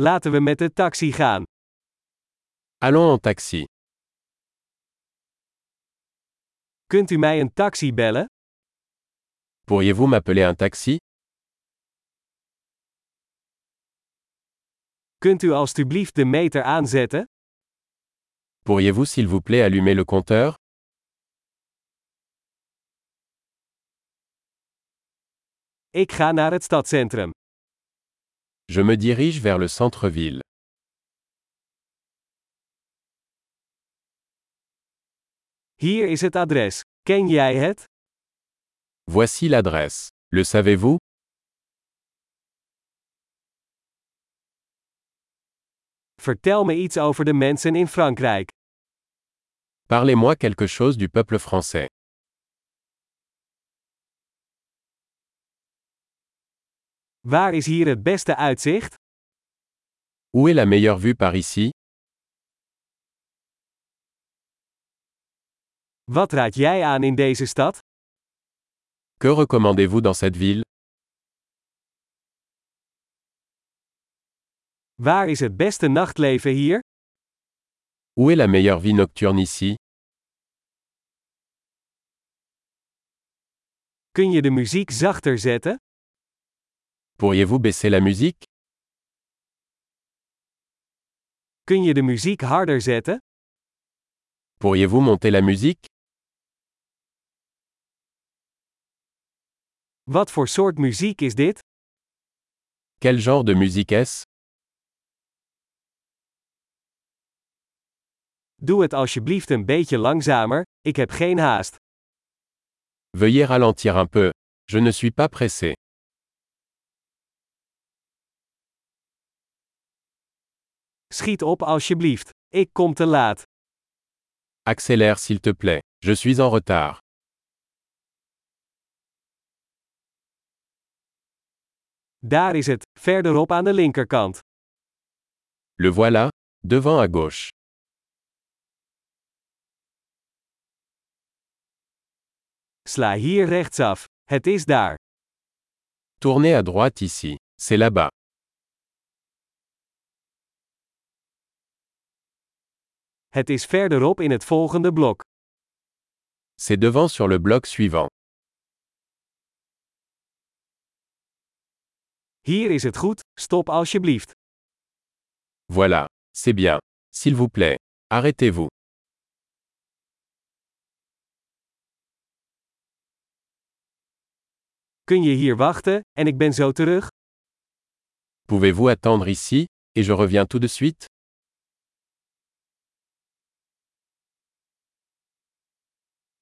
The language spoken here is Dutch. Laten we met de taxi gaan. Allons en taxi. Kunt u mij een taxi bellen? Pourriez-vous m'appeler un taxi Kunt u alstublieft de meter aanzetten? Pourriez-vous s'il vous plaît allumer le compteur Ik ga naar het stadcentrum. Je me dirige vers le centre-ville. Hier is het adres. Ken jij het? Voici l'adresse. Le savez-vous Vertel me iets over de mensen in Frankrijk. Parlez-moi quelque chose du peuple français. Waar is hier het beste uitzicht? Où est la meilleure vue par ici Wat raad jij aan in deze stad? Que recommandez-vous dans cette ville Waar is het beste nachtleven hier? Où est la meilleure vie nocturne ici Kun je de muziek zachter zetten? Pourriez-vous baisser la musique Kun je de muziek harder zetten? Pourriez-vous monter la musique Wat voor soort muziek is dit? Quel genre de musique est-ce Doe het alsjeblieft een beetje langzamer, ik heb geen haast. Veuillez ralentir un peu. Je ne suis pas pressé. Schiet op alsjeblieft, ik kom te laat. Accélère s'il te plaît. Je suis en retard. Daar is het, verderop aan de linkerkant. Le voilà, devant à gauche. Sla hier rechtsaf, het is daar. Tournez à droite ici. C'est là-bas. Het is verderop in het volgende blok. C'est devant sur le bloc suivant. Hier is het goed, stop alsjeblieft. Voilà. C'est bien. S'il vous plaît. Arrêtez-vous. Kun je hier wachten, en ik ben zo terug? Pouvez-vous attendre ici, et je reviens tout de suite